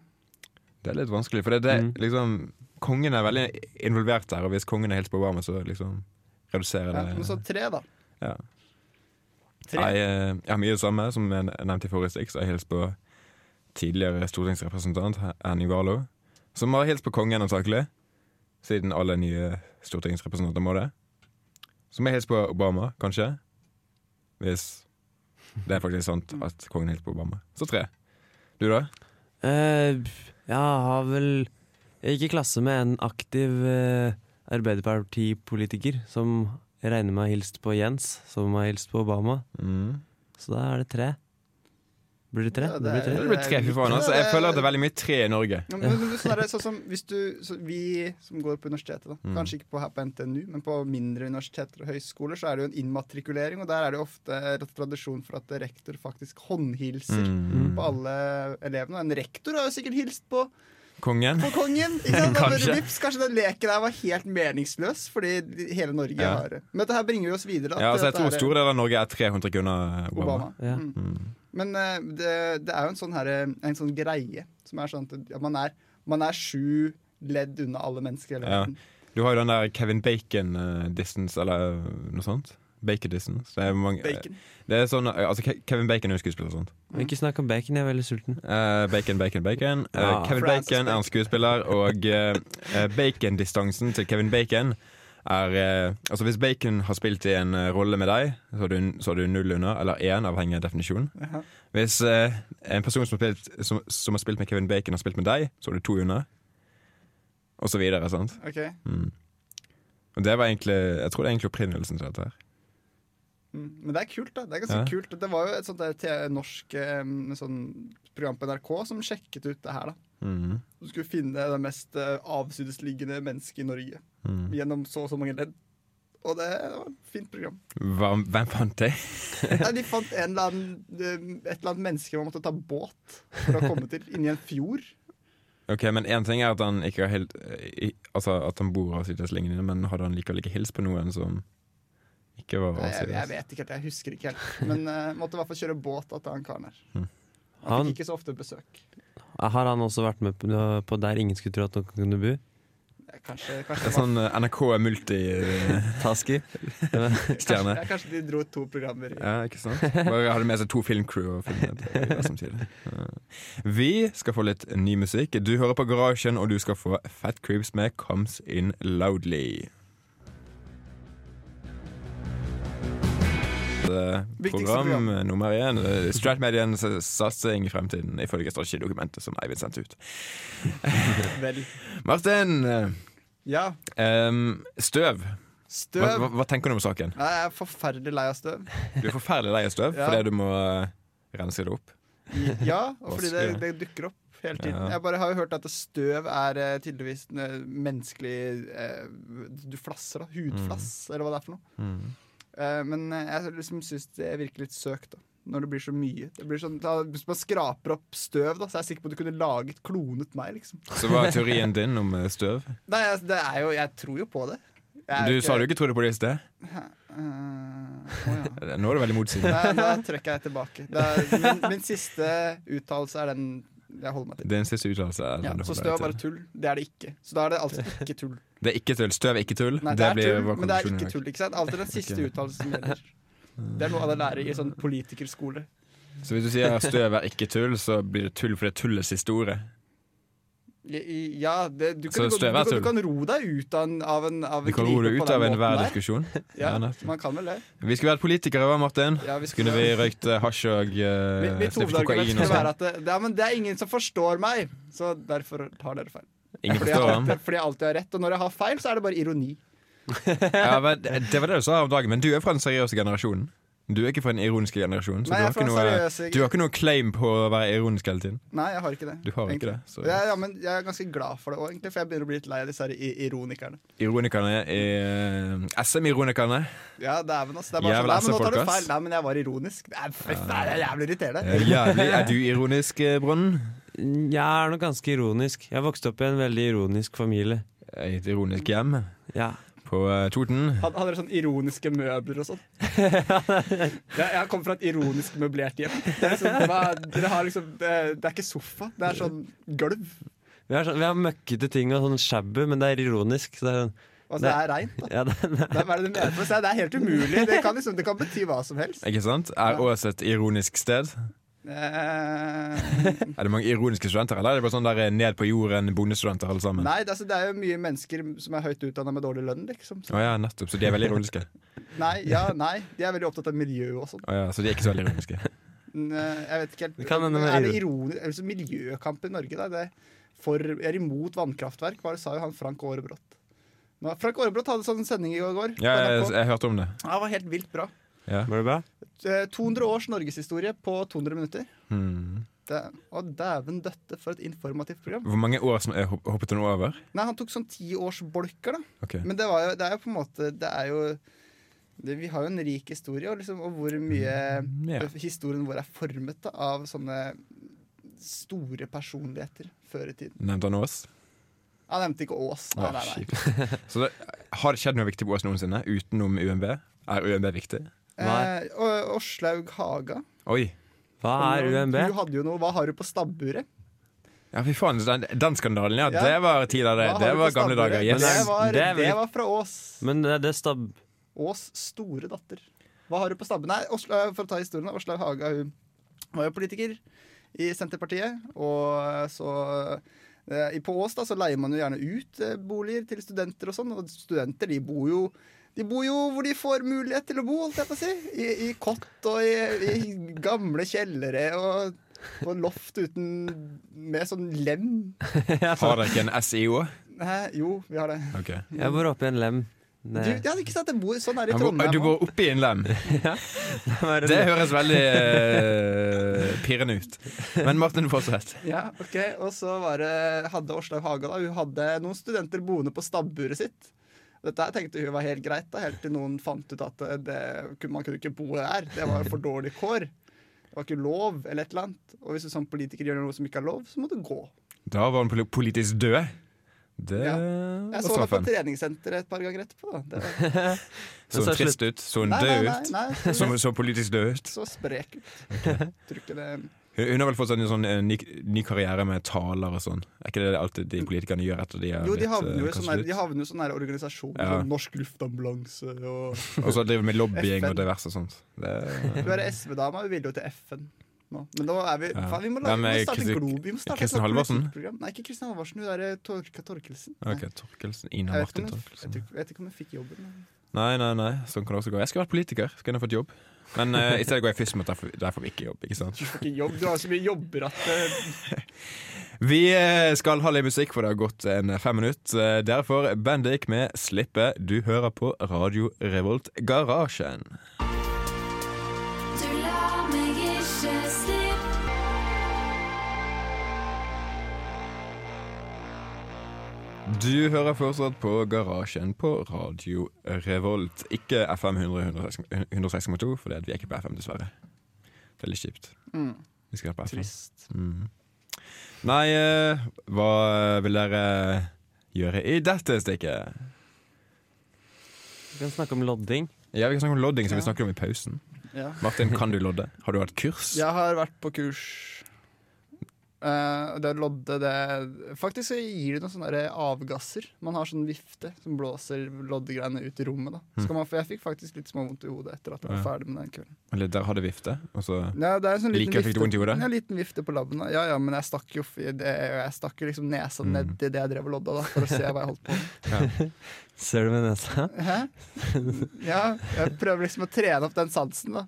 [SPEAKER 1] Det er litt vanskelig, for det, det, liksom, kongen er veldig involvert der, og hvis kongen er helt på Obama, så liksom reduserer
[SPEAKER 5] ja,
[SPEAKER 1] det
[SPEAKER 5] Men så tre, da.
[SPEAKER 1] ja.
[SPEAKER 5] Tre.
[SPEAKER 1] Nei, eh, Jeg har mye det samme som jeg nevnte i forrige stikk, så jeg hilser på tidligere stortingsrepresentant Hen- Henning Warloe, som har hilst på kongen antakelig, siden alle nye stortingsrepresentanter må det. Som har hilst på Obama, kanskje, hvis det er faktisk sant at kongen hilser på Obama. Så tre. Du, da?
[SPEAKER 2] Eh, ja, har vel Jeg gikk i klasse med en aktiv eh, Arbeiderpartipolitiker som jeg regner med har hilst på Jens, som har hilst på Obama.
[SPEAKER 1] Mm.
[SPEAKER 2] Så da er det tre. Blir det tre?
[SPEAKER 5] Ja, det
[SPEAKER 2] det blir
[SPEAKER 5] er-
[SPEAKER 2] tre.
[SPEAKER 1] Det blir tre, fy faen. Altså, jeg føler at det er veldig mye tre i Norge.
[SPEAKER 5] Ja, men, men, sånn er det, sånn som hvis du, så vi som går på universitetet, da, kanskje ikke på, her på NTNU, men på mindre universiteter og høyskoler, så er det jo en innmatrikulering, og der er det jo ofte tradisjon for at
[SPEAKER 1] Mm.
[SPEAKER 5] rektor faktisk håndhilser på alle elevene. En rektor har jo sikkert hilst på
[SPEAKER 1] kongen.
[SPEAKER 5] på kongen. Ikke sant? Da bare
[SPEAKER 1] Kanskje.
[SPEAKER 5] vips, kanskje den leken der var helt meningsløs, fordi de- hele Norge
[SPEAKER 1] Ja.
[SPEAKER 5] har det. Men dette her bringer jo oss videre. da,
[SPEAKER 1] Ja,
[SPEAKER 5] til
[SPEAKER 1] altså, jeg
[SPEAKER 5] dette
[SPEAKER 1] tror
[SPEAKER 5] her-
[SPEAKER 1] store deler av Norge er 300 kroner Obama.
[SPEAKER 5] Obama.
[SPEAKER 2] Ja.
[SPEAKER 5] Mm. Men eh, det, det er jo en sånn, her, eh, en sånn greie som er sånn at man er, man er sju ledd unna alle mennesker i hele
[SPEAKER 1] Ja.
[SPEAKER 5] verden.
[SPEAKER 1] Du har jo den der Kevin Bacon-distance, eller noe sånt. Bacon-distance. Det er mange
[SPEAKER 5] Bacon.
[SPEAKER 1] Det er sånn, altså Ke- Kevin Bacon er jo skuespiller og sånt.
[SPEAKER 2] Ikke snakk om bacon, jeg er veldig sulten.
[SPEAKER 1] Eh, bacon, bacon, bacon. Eh,
[SPEAKER 2] Ja.
[SPEAKER 1] Kevin
[SPEAKER 5] Francis
[SPEAKER 1] Bacon er en skuespiller, og eh, eh, bacondistansen til Kevin Bacon er eh, Altså, hvis Bacon har spilt i en eh, rolle med deg, så har du, så har du null under, eller én, avhengig av definisjonen.
[SPEAKER 5] Jaha.
[SPEAKER 1] Hvis eh, en person som har, spilt, som, som har spilt med Kevin Bacon, har spilt med deg, så har du to under. Og så videre, sant.
[SPEAKER 5] Ok,
[SPEAKER 1] Og det var egentlig Jeg tror det er egentlig opprinnelsen til dette her.
[SPEAKER 5] mm. Men det er kult, da. Det er ganske
[SPEAKER 1] Ja.
[SPEAKER 5] kult. Det var jo et sånt der te- norsk eh, sånn program på NRK som sjekket ut det her. da
[SPEAKER 1] Mhm.
[SPEAKER 5] Du skulle finne det mest eh, avsidesliggende mennesket i Norge
[SPEAKER 1] Mm.
[SPEAKER 5] gjennom så og så mange ledd. Og det var et fint program.
[SPEAKER 1] Hva, hvem fant det?
[SPEAKER 5] Nei, de fant en eller annen, eh, et eller annet menneske man måtte ta båt for å komme til, inni en fjord.
[SPEAKER 1] Ok, men én ting er at han ikke har helt i, Altså at han bor avsides lenge inne, men hadde han likevel ikke hilst på noen som ikke var
[SPEAKER 5] Nei, jeg, jeg
[SPEAKER 1] avsides?
[SPEAKER 5] vet ikke helt, jeg husker ikke helt. Men eh, måtte i hvert fall kjøre båt til han karen
[SPEAKER 1] Mm.
[SPEAKER 5] her. Han
[SPEAKER 2] Han,
[SPEAKER 5] fikk ikke så ofte besøk.
[SPEAKER 2] har han også vært med på- på Der ingen skulle tro at noen kunne bo?
[SPEAKER 5] Eh, Kanskje, kanskje,
[SPEAKER 1] Det er
[SPEAKER 5] det var-
[SPEAKER 1] sånn eh, NRK multistjerne.
[SPEAKER 2] Taski.
[SPEAKER 5] kanskje, ja, kanskje de dro to programmer i
[SPEAKER 1] Ja, ikke sant? Bare hadde med seg to filmcrew og filmet det der samtidig. Ja. Vi skal få litt ny musikk. Du hører på Garasjen, og du skal få Fat Creeps med Comes In Loudly. Det
[SPEAKER 5] Viktigste
[SPEAKER 1] Program
[SPEAKER 5] program.
[SPEAKER 1] nummer én. eh, Stratmedians satsing i fremtiden, ifølge strategidokumentet som Eivind sendte ut.
[SPEAKER 5] Vel.
[SPEAKER 1] Martin!
[SPEAKER 5] Ja,
[SPEAKER 1] eh, støv. Hva, hva,
[SPEAKER 5] støv.
[SPEAKER 1] hva tenker du om saken?
[SPEAKER 5] Nei, jeg er forferdelig lei av støv.
[SPEAKER 1] Du er forferdelig lei av støv
[SPEAKER 5] Ja.
[SPEAKER 1] fordi du må eh, rense det opp.
[SPEAKER 5] Ja, og fordi
[SPEAKER 1] Vanskelig.
[SPEAKER 5] det, det dukker opp hele tiden.
[SPEAKER 1] Ja.
[SPEAKER 5] Jeg bare har jo hørt at støv er eh, tydeligvis eh, menneskelig eh, Du flasser, da.
[SPEAKER 1] Mm.
[SPEAKER 5] Hudflass, eller hva det er for noe. Eh, men eh, jeg liksom syns det virker litt søkt, da. Når det blir så mye. Det blir sånn, da, hvis man skraper opp støv, da, så er jeg sikker på at du kunne laget klonet meg, liksom.
[SPEAKER 1] Så hva er teorien din om eh, støv?
[SPEAKER 5] Nei, altså, det er jo Jeg tror jo på det. Jeg er
[SPEAKER 1] Du
[SPEAKER 5] jo
[SPEAKER 1] sa du ikke trodde på det i sted.
[SPEAKER 5] Eh, å ja.
[SPEAKER 1] Nå er du veldig motsigende.
[SPEAKER 5] Nei, da trekker jeg tilbake. Det er, min, min siste uttalelse er den jeg holder meg til.
[SPEAKER 1] Din siste uttalelse er den
[SPEAKER 5] Ja,
[SPEAKER 1] du
[SPEAKER 5] så
[SPEAKER 1] holder
[SPEAKER 5] støv er
[SPEAKER 1] deg
[SPEAKER 5] bare
[SPEAKER 1] til.
[SPEAKER 5] tull. Det er det ikke. Så da er det altså ikke tull.
[SPEAKER 1] Det er ikke tull. Støv er ikke tull.
[SPEAKER 5] Nei, det,
[SPEAKER 1] blir vår
[SPEAKER 5] er tull, men det er
[SPEAKER 1] konklusjon i
[SPEAKER 5] ikke
[SPEAKER 1] dag.
[SPEAKER 5] tull. ikke sant? Alltid den siste
[SPEAKER 1] Ok.
[SPEAKER 5] uttalelsen som gjelder. Det er noe alle lærer i sånn politikerskole.
[SPEAKER 1] Så hvis du sier at støv er ikke tull, så blir det tull fordi tull er siste ordet.
[SPEAKER 5] I- i- Ja, det, du,
[SPEAKER 1] Så
[SPEAKER 5] kan, du,
[SPEAKER 1] støv
[SPEAKER 5] kan-
[SPEAKER 1] er
[SPEAKER 5] du, kan-
[SPEAKER 1] tull.
[SPEAKER 5] du kan ro deg ut av en, av en, av
[SPEAKER 1] Du
[SPEAKER 5] en
[SPEAKER 1] kan
[SPEAKER 5] knipe
[SPEAKER 1] roe deg
[SPEAKER 5] på
[SPEAKER 1] ut
[SPEAKER 5] den
[SPEAKER 1] av Eh, enhver
[SPEAKER 5] måten der.
[SPEAKER 1] diskusjon. Ja,
[SPEAKER 5] Ja,
[SPEAKER 1] nettopp.
[SPEAKER 5] man kan vel det.
[SPEAKER 1] Vi skulle vært politikere, hva, Martin?
[SPEAKER 5] Ja, vi
[SPEAKER 1] Skulle
[SPEAKER 5] skulle-
[SPEAKER 1] vi røykt eh, hasj og uh,
[SPEAKER 5] Mitt- Mitt
[SPEAKER 1] sniffet
[SPEAKER 5] hovedargument
[SPEAKER 1] kokain og
[SPEAKER 5] skal være
[SPEAKER 1] sånn?
[SPEAKER 5] at det, det, er, men det er ingen som forstår meg, så derfor tar dere feil.
[SPEAKER 1] Ingen
[SPEAKER 5] Fordi jeg,
[SPEAKER 1] forstår ham.
[SPEAKER 5] alltid, fordi jeg alltid har rett, og når jeg har feil, så er det bare ironi.
[SPEAKER 1] Ja, men det det var det du sa om dagen, men du er fra den seriøse generasjonen. Du er ikke fra den ironiske generasjonen, så
[SPEAKER 5] Nei,
[SPEAKER 1] du,
[SPEAKER 5] jeg er
[SPEAKER 1] har ikke
[SPEAKER 5] fra
[SPEAKER 1] noe,
[SPEAKER 5] den seriøse-
[SPEAKER 1] du har ikke noe claim på å være ironisk hele tiden.
[SPEAKER 5] Nei, jeg har ikke det.
[SPEAKER 1] Du har ikke det,
[SPEAKER 5] egentlig.
[SPEAKER 1] så-
[SPEAKER 5] Ja, ja, men jeg er ganske glad for det òg, egentlig, for jeg begynner å bli litt lei av disse her i- ironikerne.
[SPEAKER 1] Ironikerne er SM-ironikerne.
[SPEAKER 5] Ja, dæven, ass. Det er bare sånn,
[SPEAKER 1] Jævla
[SPEAKER 5] nei, men nå tar du
[SPEAKER 1] SF-folk, ass.
[SPEAKER 5] feil. Nei, men jeg var ironisk. Det er, fy faen, det er jævlig irriterende.
[SPEAKER 1] Eh, Jævlig. Er du ironisk, eh, Brunnen?
[SPEAKER 2] Jeg er nok ganske ironisk. Jeg vokste opp i en veldig ironisk familie.
[SPEAKER 1] I et ironisk hjem
[SPEAKER 2] Ja.
[SPEAKER 1] på eh, Toten.
[SPEAKER 5] Had- Hadde dere sånn ironiske møbler og sånn? Jeg, jeg kommer fra et ironisk møblert hjem. Det er, liksom, hva- dere har liksom, det, det er ikke sofa, det er sånn gulv.
[SPEAKER 2] Vi har, sånn, vi har møkkete ting og sånn shabby, men det er ironisk. Så det er, sånn-
[SPEAKER 5] Og så Altså, det er reint. da.
[SPEAKER 2] ja, det, det,
[SPEAKER 5] Det er, hva er det du mener for å si? Det er helt umulig. Det kan, liksom, det kan bety hva som helst.
[SPEAKER 1] Ikke sant? Er Ås et ironisk sted?
[SPEAKER 5] Eh,
[SPEAKER 1] Er det mange ironiske studenter, eller er det bare sånn der eh, ned på jorden, bondestudenter alle sammen?
[SPEAKER 5] nei, det, altså, det er jo mye mennesker som er høyt utdanna med dårlig lønn, liksom. Så,
[SPEAKER 1] Å ja, nettopp. Så de er veldig ironiske.
[SPEAKER 5] nei, ja, nei, de er veldig opptatt av miljø og sånn.
[SPEAKER 1] Å ja, så de er ikke så veldig ironiske.
[SPEAKER 5] Men, eh, Jeg vet ikke helt.
[SPEAKER 2] Det kan hende det er
[SPEAKER 5] er det ironisk altså, Miljøkamp i Norge, da. Det er for, er imot vannkraftverk, bare sa jo han Frank Aarebrot. Nå, Frank Aarebrot hadde sånn sending i går. på
[SPEAKER 1] Ja, jeg,
[SPEAKER 5] NRK.
[SPEAKER 1] jeg hørte om det.
[SPEAKER 5] Han var helt vilt bra.
[SPEAKER 1] Ja.
[SPEAKER 2] var det bra?
[SPEAKER 5] Eh, 200 års norgeshistorie på 200 minutter.
[SPEAKER 1] Hmm.
[SPEAKER 5] Det, og dæven døtte, for et informativt program.
[SPEAKER 1] Hvor mange år som er hop- hoppet hun over?
[SPEAKER 5] Nei, han tok sånn ti års bolker, da.
[SPEAKER 1] Ok.
[SPEAKER 5] Men det, var jo, det er jo på en måte Det er jo det, Vi har jo en rik historie, og, liksom, og hvor mye
[SPEAKER 1] ja.
[SPEAKER 5] historien vår er formet da, av sånne store personligheter før i tiden.
[SPEAKER 1] Nevnte han Ås?
[SPEAKER 5] Han nevnte ikke Ås. Nei,
[SPEAKER 1] Ah,
[SPEAKER 5] nei, nei.
[SPEAKER 1] kjipt. Så det, har det skjedd noe viktig på Ås noensinne utenom UMB? Er UMB viktig?
[SPEAKER 2] Hva
[SPEAKER 5] Eh, og- Åslaug Haga.
[SPEAKER 1] Oi.
[SPEAKER 2] Hva er UMB?
[SPEAKER 5] Du hadde jo noe, Hva har du på stabburet?
[SPEAKER 1] Ja, fy faen, så den, den skandalen, ja.
[SPEAKER 5] Ja.
[SPEAKER 1] Det var tid av det.
[SPEAKER 5] Hva har
[SPEAKER 1] Det
[SPEAKER 5] du på
[SPEAKER 1] var gamle
[SPEAKER 5] stabburet?
[SPEAKER 1] dager. Yes.
[SPEAKER 5] Det, var,
[SPEAKER 2] Det er vel-
[SPEAKER 5] det var fra Ås.
[SPEAKER 2] Men det, det stab...
[SPEAKER 5] Ås store datter. Hva har du på stabben? Nei, Åsla, for å ta historien, da, Åslaug Haga hun var jo politiker i Senterpartiet. Og så eh, i- På Ås da, så leier man jo gjerne ut eh, boliger til studenter og sånn. Og studenter de bor jo de bor jo hvor de får mulighet til å bo, holdt jeg på å si. I, i kott og i, i gamle kjellere og på loft uten Med sånn lem.
[SPEAKER 1] Har dere ikke en SIO?
[SPEAKER 5] Hæ? Jo, vi har det.
[SPEAKER 1] Ok.
[SPEAKER 2] Jeg bor oppi en lem.
[SPEAKER 5] Du,
[SPEAKER 2] Det,
[SPEAKER 5] jeg hadde ikke sagt at jeg bor sånn her i
[SPEAKER 1] Han bor-
[SPEAKER 5] Trondheim.
[SPEAKER 1] Du
[SPEAKER 5] også.
[SPEAKER 1] bor oppi en lem. Det høres veldig eh, pirrende ut. Men Martin, du fortsett.
[SPEAKER 5] Ja, ok. Og så var det, hadde Åslaug Haga da, hun hadde noen studenter boende på stabburet sitt. Dette her tenkte hun var helt greit, da, helt til noen fant ut at det, kunne- man kunne ikke bo der. Det var for dårlig kår. Det var ikke lov, eller et eller annet. Og hvis du som politiker gjør noe som ikke er lov, så må du gå.
[SPEAKER 1] Da var han poli- politisk død. Det
[SPEAKER 5] Ja.
[SPEAKER 1] var
[SPEAKER 5] Jeg så henne på
[SPEAKER 1] straffen.
[SPEAKER 5] treningssenteret et par ganger etterpå. Da. Det var,
[SPEAKER 1] Så
[SPEAKER 2] Men så
[SPEAKER 1] hun trist ut. Så hun
[SPEAKER 5] nei, nei,
[SPEAKER 1] død
[SPEAKER 5] nei,
[SPEAKER 1] ut.
[SPEAKER 5] nei, så,
[SPEAKER 1] Så, så politisk død ut.
[SPEAKER 5] så sprek ut. Tror ikke det
[SPEAKER 1] Hun, hun har vel fått sånn, en sånn eh, ny, ny karriere med taler og sånn. Er ikke det alltid de politikerne gjør etter de er
[SPEAKER 5] Jo, de
[SPEAKER 1] blitt,
[SPEAKER 5] havner
[SPEAKER 1] eh,
[SPEAKER 5] jo i sånne,
[SPEAKER 1] kastet
[SPEAKER 5] her-
[SPEAKER 1] ut?
[SPEAKER 5] de havner jo i sånne her organisasjoner
[SPEAKER 1] Ja.
[SPEAKER 5] som Norsk Luftambulanse og
[SPEAKER 1] Og så driver med lobbying
[SPEAKER 5] FN.
[SPEAKER 1] og diverse og sånt. Det,
[SPEAKER 5] Du er SV-dama, vi vil jo til FN nå. Men nå er vi
[SPEAKER 1] Ja.
[SPEAKER 5] faen, Vi må,
[SPEAKER 1] Ja, men
[SPEAKER 5] lage, vi må starte
[SPEAKER 1] Kristin-
[SPEAKER 5] en glob. Vi må starte et
[SPEAKER 1] Kristin
[SPEAKER 5] sånt
[SPEAKER 1] Halvorsen?
[SPEAKER 5] politikkprogram. Nei, ikke Kristin Halvorsen. Hun derre Torka Torkelsen. Nei.
[SPEAKER 1] ok, Torkelsen. Ina
[SPEAKER 5] Jeg vet,
[SPEAKER 1] Martin
[SPEAKER 5] ikke om hun, jeg
[SPEAKER 1] Torkelsen.
[SPEAKER 5] tror- vet ikke om hun fikk jobben. men-
[SPEAKER 1] Nei, nei, nei. Sånn kan det også gå. Jeg skulle vært politiker. Skulle gjerne fått jobb. Men eh, i stedet går jeg først mot derfor, derfor ikke jobb. ikke sant?
[SPEAKER 5] Du får ikke jobb, du har så mye jobber at eh,
[SPEAKER 1] Vi eh, skal ha litt musikk, for det har gått en fem minutter. Eh, Derfor Bendik med 'Slippe'. Du hører på Radio Revolt Garasjen.
[SPEAKER 7] Du lar meg ikke slippe.
[SPEAKER 1] Du hører fortsatt på Garasjen på Radio Revolt. Ikke FM 100 106,2, for vi er ikke på FM, dessverre. Det er litt kjipt. Vi skal være på FM.
[SPEAKER 5] Mm. Trist.
[SPEAKER 1] Mhm. Nei, eh, hva vil dere eh, gjøre i dette stikket?
[SPEAKER 2] Vi kan snakke om lodding.
[SPEAKER 1] Ja, Vi kan snakke om lodding, som vi
[SPEAKER 5] Ja.
[SPEAKER 1] snakket om i pausen.
[SPEAKER 5] Ja.
[SPEAKER 1] Martin, kan du lodde? Har du hatt kurs?
[SPEAKER 5] Jeg har vært på kurs. Eh, det å lodde, det Faktisk så gir det noen sånne der avgasser. Man har sånn vifte som blåser loddegreiene ut i rommet. Da.
[SPEAKER 1] Hm.
[SPEAKER 5] Så kan man, for jeg fikk faktisk litt småvondt i hodet etter at jeg var ferdig med den kvelden.
[SPEAKER 1] Eller der har det vifte? Og så
[SPEAKER 5] Ja, det er en sånn liten
[SPEAKER 1] Likevel fikk du
[SPEAKER 5] vifte-
[SPEAKER 1] vondt i hodet?
[SPEAKER 5] Ja, liten vifte på labben. da. Ja, ja, men jeg stakk jo, f- det, jeg stakk jo liksom nesa
[SPEAKER 1] Mm.
[SPEAKER 5] ned i det jeg drev og lodda, da, for å se hva jeg holdt på med.
[SPEAKER 2] Ser du med nesa?
[SPEAKER 5] Hæ? Ja, jeg prøver liksom å trene opp den sansen, da.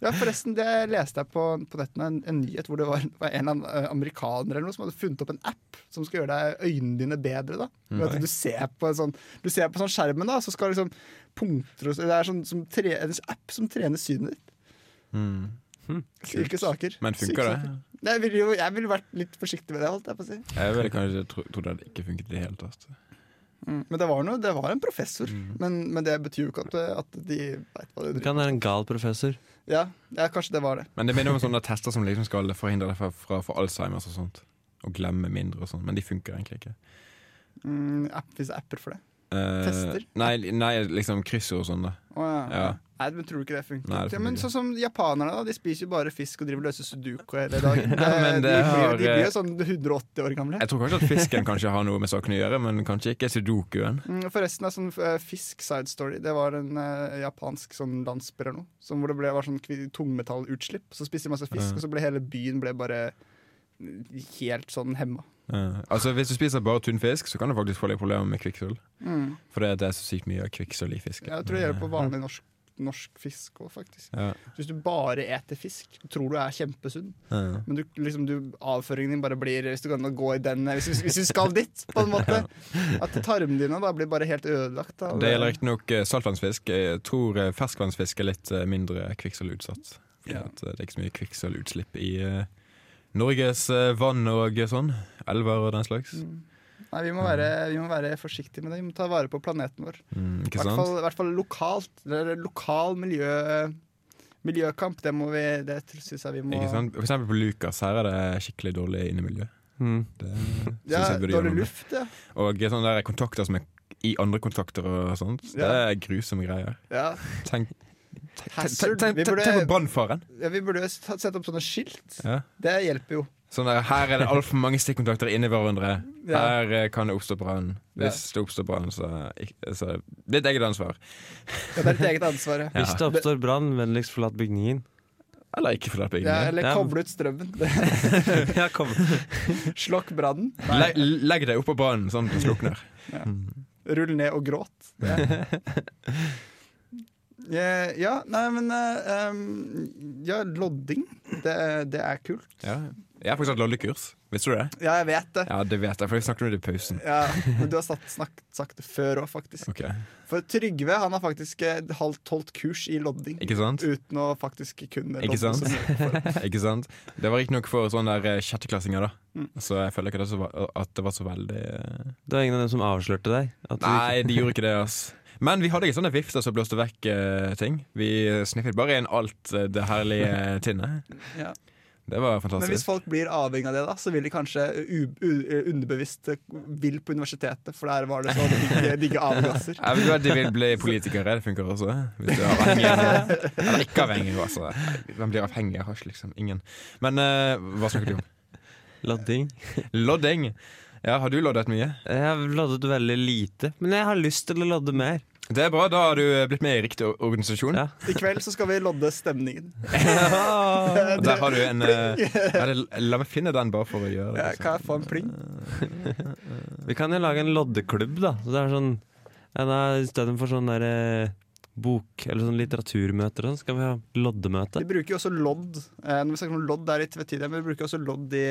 [SPEAKER 5] Ja, forresten, det leste jeg på, på nettene, en, en nyhet hvor det var, var en am- eh, amerikaner eller noe som hadde funnet opp en app som skal gjøre deg øynene dine bedre, da. Ved at Du ser på en sånn, du ser på sånn skjermen, da, så skal liksom punkter og så- Det er sånn, som tre, en app som trener synet ditt. Syke saker.
[SPEAKER 1] Mm. Men
[SPEAKER 5] Syke
[SPEAKER 1] funker
[SPEAKER 5] saker.
[SPEAKER 1] det?
[SPEAKER 5] Nei, Jeg ville jo jeg ville vært litt forsiktig med det. holdt jeg på å si.
[SPEAKER 1] Jeg ville kanskje tro- trodd det hadde ikke funket i det hele tatt.
[SPEAKER 5] Men det var, noe, det var en professor.
[SPEAKER 1] Mm.
[SPEAKER 5] Men, men det betyr jo ikke at, at de veit hva de driver med.
[SPEAKER 2] Kan være en gal professor.
[SPEAKER 5] Ja, ja, kanskje det var det.
[SPEAKER 1] Men det minner om sånne tester som liksom skal forhindre deg fra, fra å få Alzheimers og sånt. Og glemme mindre og sånn. Men de funker egentlig ikke.
[SPEAKER 5] Mm, app, hvis det er apper for det.
[SPEAKER 1] Eh,
[SPEAKER 5] Tester?
[SPEAKER 1] Nei, nei liksom kryssord og sånn. da
[SPEAKER 5] Å, ja.
[SPEAKER 1] Ja.
[SPEAKER 5] Nei, men tror du ikke det funker?
[SPEAKER 1] Nei, det
[SPEAKER 5] ja, men
[SPEAKER 1] funker
[SPEAKER 5] sånn som japanerne, da. De spiser jo bare fisk og driver løse sudoku hele dagen. Det,
[SPEAKER 1] men det
[SPEAKER 5] de, blir,
[SPEAKER 1] har,
[SPEAKER 5] jo- de blir
[SPEAKER 1] eh,
[SPEAKER 5] jo sånn 180 år gamle.
[SPEAKER 1] Jeg tror kanskje at fisken kanskje har noe med saken å gjøre, men kanskje ikke sudokuen.
[SPEAKER 5] Mm, Forresten er sånn eh, fisk side story. Det var en eh, japansk sånn landsby eller noe. Som hvor det ble, var sånn kvi- tungmetallutslipp. Så spiste de masse fisk, og så ble hele byen ble bare eh, helt sånn hemma.
[SPEAKER 1] Eh, altså Hvis du spiser bare tunn fisk, så kan du faktisk få litt problemer med kvikksølv.
[SPEAKER 5] Mm.
[SPEAKER 1] For det, det er så sykt mye kvikksølv i fisk.
[SPEAKER 5] Jeg tror det gjelder på vanlig norsk, norsk fisk òg, faktisk.
[SPEAKER 1] Ja.
[SPEAKER 5] Hvis du bare eter fisk, du tror du er kjempesunn,
[SPEAKER 1] Eh,
[SPEAKER 5] men du, liksom, du, avføringen din bare blir Hvis du kan gå i den hvis du, hvis du skal dit, på en måte. At tarmene dine da blir bare helt ødelagt. Da,
[SPEAKER 1] Det gjelder riktignok eh, saltvannsfisk. Jeg tror eh, ferskvannsfisk er litt eh, mindre kvikksølvutsatt. Fordi
[SPEAKER 5] Ja.
[SPEAKER 1] at eh, det er ikke så mye kvikksølvutslipp i eh, Norges eh, vann og sånn. Elver og den slags.
[SPEAKER 5] Mm. Nei, vi må, være, vi må være forsiktige med det. Vi må ta vare på planeten vår.
[SPEAKER 1] Mm,
[SPEAKER 5] I
[SPEAKER 1] ikke
[SPEAKER 5] hvert
[SPEAKER 1] sant?
[SPEAKER 5] fall, I hvert fall lokalt. Det er lokal miljø... miljøkamp, det, må vi, det syns jeg vi må
[SPEAKER 1] Ikke sant? For eksempel på Lukas. Her er det skikkelig dårlig innemiljø.
[SPEAKER 2] Mm.
[SPEAKER 1] Det synes
[SPEAKER 5] Ja,
[SPEAKER 1] jeg burde gjøre
[SPEAKER 5] dårlig
[SPEAKER 1] noe med.
[SPEAKER 5] luft, ja.
[SPEAKER 1] Og sånne der kontakter som er i andre kontakter og sånt. Det
[SPEAKER 5] Ja.
[SPEAKER 1] er grusomme greier.
[SPEAKER 5] ja.
[SPEAKER 1] Tenk, tenk, tenk,
[SPEAKER 5] Hazard.
[SPEAKER 1] tenk,
[SPEAKER 5] Vi
[SPEAKER 1] tenk,
[SPEAKER 5] burde-
[SPEAKER 1] tenk på brannfaren.
[SPEAKER 5] ja vi burde jo s- sette opp sånne skilt.
[SPEAKER 1] Ja.
[SPEAKER 5] Det hjelper jo.
[SPEAKER 1] Sånn der, her er det altfor mange stikkontakter inni hverandre.
[SPEAKER 5] Ja.
[SPEAKER 1] Her eh, kan det oppstå brann. Hvis det oppstår brann, så, ikk- så Det er et eget ansvar.
[SPEAKER 5] Ja, det er ditt eget ansvar. Ja.
[SPEAKER 2] Hvis det oppstår brann, vennligst forlat bygningen.
[SPEAKER 1] Eller ikke forlat
[SPEAKER 5] Ja,
[SPEAKER 1] bygningen.
[SPEAKER 5] eller
[SPEAKER 2] Ja.
[SPEAKER 5] koble ut strømmen.
[SPEAKER 2] ja, kom.
[SPEAKER 5] Slokk brannen.
[SPEAKER 1] Legg, legg deg oppå brannen sånn at den slukner.
[SPEAKER 5] Rull ned og gråt. Ja. Eh, ja, nei, men eh, em, Ja, lodding. Det, det er kult.
[SPEAKER 1] Ja. Jeg har faktisk hatt lollekurs. Visste du det?
[SPEAKER 5] Ja, jeg vet det.
[SPEAKER 1] Ja, det vet jeg, for vi snakket om det i pausen.
[SPEAKER 5] Ja, men du har sagt, snakket, sagt det før òg, faktisk.
[SPEAKER 1] Ok,
[SPEAKER 5] For Trygve han har faktisk eh, holdt, holdt kurs i lodding.
[SPEAKER 1] Ikke sant?
[SPEAKER 5] Uten å faktisk kunne
[SPEAKER 1] Ikke sant?
[SPEAKER 5] så mye for det.
[SPEAKER 1] Ikke sant? Det var riktignok for sånne der eh, sjetteklassinger, da.
[SPEAKER 5] Mm.
[SPEAKER 1] Så jeg føler ikke det så, va- at det var så veldig eh,
[SPEAKER 2] Det var ingen av dem som avslørte deg? At du
[SPEAKER 1] Nei,
[SPEAKER 2] ikke-
[SPEAKER 1] de gjorde ikke det, ass. Men vi hadde ikke sånne vifter som blåste vekk eh, ting. Vi sniffet bare inn alt eh, det herlige tinnet.
[SPEAKER 5] Ja.
[SPEAKER 1] Det var
[SPEAKER 5] Men hvis
[SPEAKER 1] fantastisk.
[SPEAKER 5] folk blir avhengig av det, da så vil de kanskje u u underbevisst eh, vil på universitetet, for der var det sånn digge, digge avgasser.
[SPEAKER 1] Jeg vet at de vil bli politikere. Det funker også. Hvis du er avhengig av noe. Eller ikke avhengig, altså. Hvem blir avhengig av hasj, liksom? Ingen. Men eh, hva snakket du om?
[SPEAKER 2] Lodding.
[SPEAKER 1] Lodding. Ja, har du loddet mye?
[SPEAKER 2] Jeg har loddet veldig lite, men jeg har lyst til å lodde mer.
[SPEAKER 1] Det er bra. Da har du eh, blitt med i riktig or- organisasjon.
[SPEAKER 2] Ja.
[SPEAKER 5] I kveld så skal vi lodde stemningen.
[SPEAKER 1] Og der har du en eh, ja, det, La meg finne den, bare for å gjøre det.
[SPEAKER 5] Ja,
[SPEAKER 1] liksom.
[SPEAKER 5] kan jeg få en pling?
[SPEAKER 2] Vi kan jo lage en loddeklubb, da. Så det er sånn ja, da, I stedet for sånn der eh, bok- eller sånn litteraturmøter og sånn, skal vi ha
[SPEAKER 5] Vi
[SPEAKER 2] loddemøte.
[SPEAKER 5] bruker jo også lodd. Eh, Når vi snakker om lodd, det er litt vettid, men vi bruker også lodd i,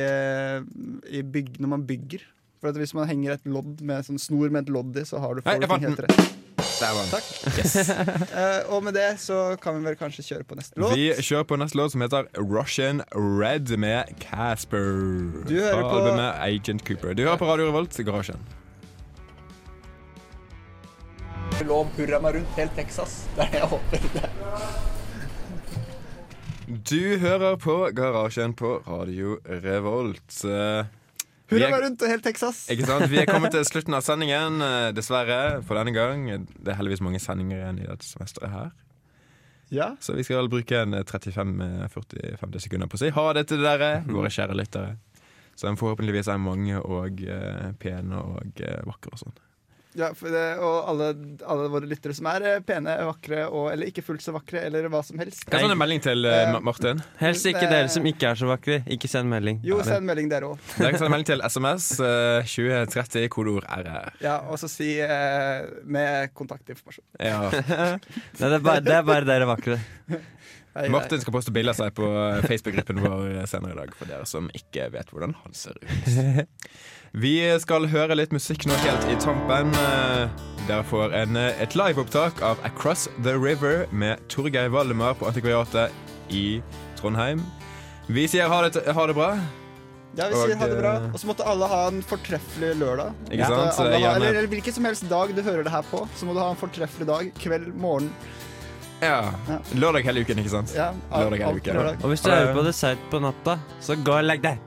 [SPEAKER 5] i bygg, når man bygger. For at Hvis man henger et lodd med sånn snor med et lodd i, så har du
[SPEAKER 1] Hei,
[SPEAKER 5] får
[SPEAKER 1] jeg
[SPEAKER 5] du ting
[SPEAKER 1] fant
[SPEAKER 5] helt rett.
[SPEAKER 1] Der var den.
[SPEAKER 5] Takk. Eh, og med det så kan vi vel kanskje kjøre på neste låt.
[SPEAKER 1] Vi kjører på neste låt som heter Russian Red med Casper.
[SPEAKER 5] Du hører
[SPEAKER 1] Fra
[SPEAKER 5] på-
[SPEAKER 1] albumet Agent Cooper. Du hører på Radio Revolt i garasjen.
[SPEAKER 5] lå og purra meg rundt helt Texas. Det er det jeg håper.
[SPEAKER 1] Du hører på Garasjen på Radio Revolt. Eh, Vi
[SPEAKER 5] Purra meg
[SPEAKER 1] er,
[SPEAKER 5] rundt helt Texas.
[SPEAKER 1] ikke sant? Vi er kommet til slutten av sendingen, eh, dessverre, for denne gang. Det er heldigvis mange sendinger igjen i dette semesteret her.
[SPEAKER 5] Ja.
[SPEAKER 1] Så vi skal bruke en eh, 35-40 sekunder på å si ha det til dere, våre kjære lyttere. Som forhåpentligvis er mange og eh, pene og eh, vakre og sånn.
[SPEAKER 5] Ja, for det, og alle, alle våre lyttere som er eh, pene, vakre og, eller ikke fullt så vakre, eller hva som helst.
[SPEAKER 1] Hva er sånn en melding til eh, Ma- Martin?
[SPEAKER 2] Helst ikke dere som ikke er så vakre. Ikke send melding.
[SPEAKER 5] Jo, send melding dere òg.
[SPEAKER 1] Dere kan sende melding til SMS eh, 2030, kodeord RR.
[SPEAKER 5] Ja, og så si eh, med kontaktinformasjon.
[SPEAKER 1] Ja.
[SPEAKER 2] Nei, det, er bare, det er bare dere vakre.
[SPEAKER 5] Hei, hei.
[SPEAKER 1] Martin skal poste bilder av seg på eh, Facebook-gruppen vår senere i dag, for dere som ikke vet hvordan han ser ut. Vi skal høre litt musikk nå helt i tampen. Eh, Dere får en, eh, et liveopptak av Across the River med Torgeir Valdemar på Antikvariatet i Trondheim. Vi sier ha det, t- ha det bra.
[SPEAKER 5] Ja, vi sier
[SPEAKER 1] Og,
[SPEAKER 5] ha det bra.
[SPEAKER 1] eh,
[SPEAKER 5] Og så måtte alle ha en fortreffelig lørdag.
[SPEAKER 1] Ikke
[SPEAKER 5] Så
[SPEAKER 1] sant? Eh,
[SPEAKER 5] Alle
[SPEAKER 1] Gjerne-
[SPEAKER 5] har, eller, eller hvilken som helst dag du hører det her på, så må du ha en fortreffelig dag. Kveld, morgen.
[SPEAKER 1] Ja. Lørdag hele uken, ikke sant?
[SPEAKER 5] Ja, alt,
[SPEAKER 1] Lørdag er
[SPEAKER 5] alt
[SPEAKER 1] uke.
[SPEAKER 5] lørdag.
[SPEAKER 2] Og hvis du
[SPEAKER 1] Ha det.
[SPEAKER 2] hører på dessert på natta, så gå og legg deg.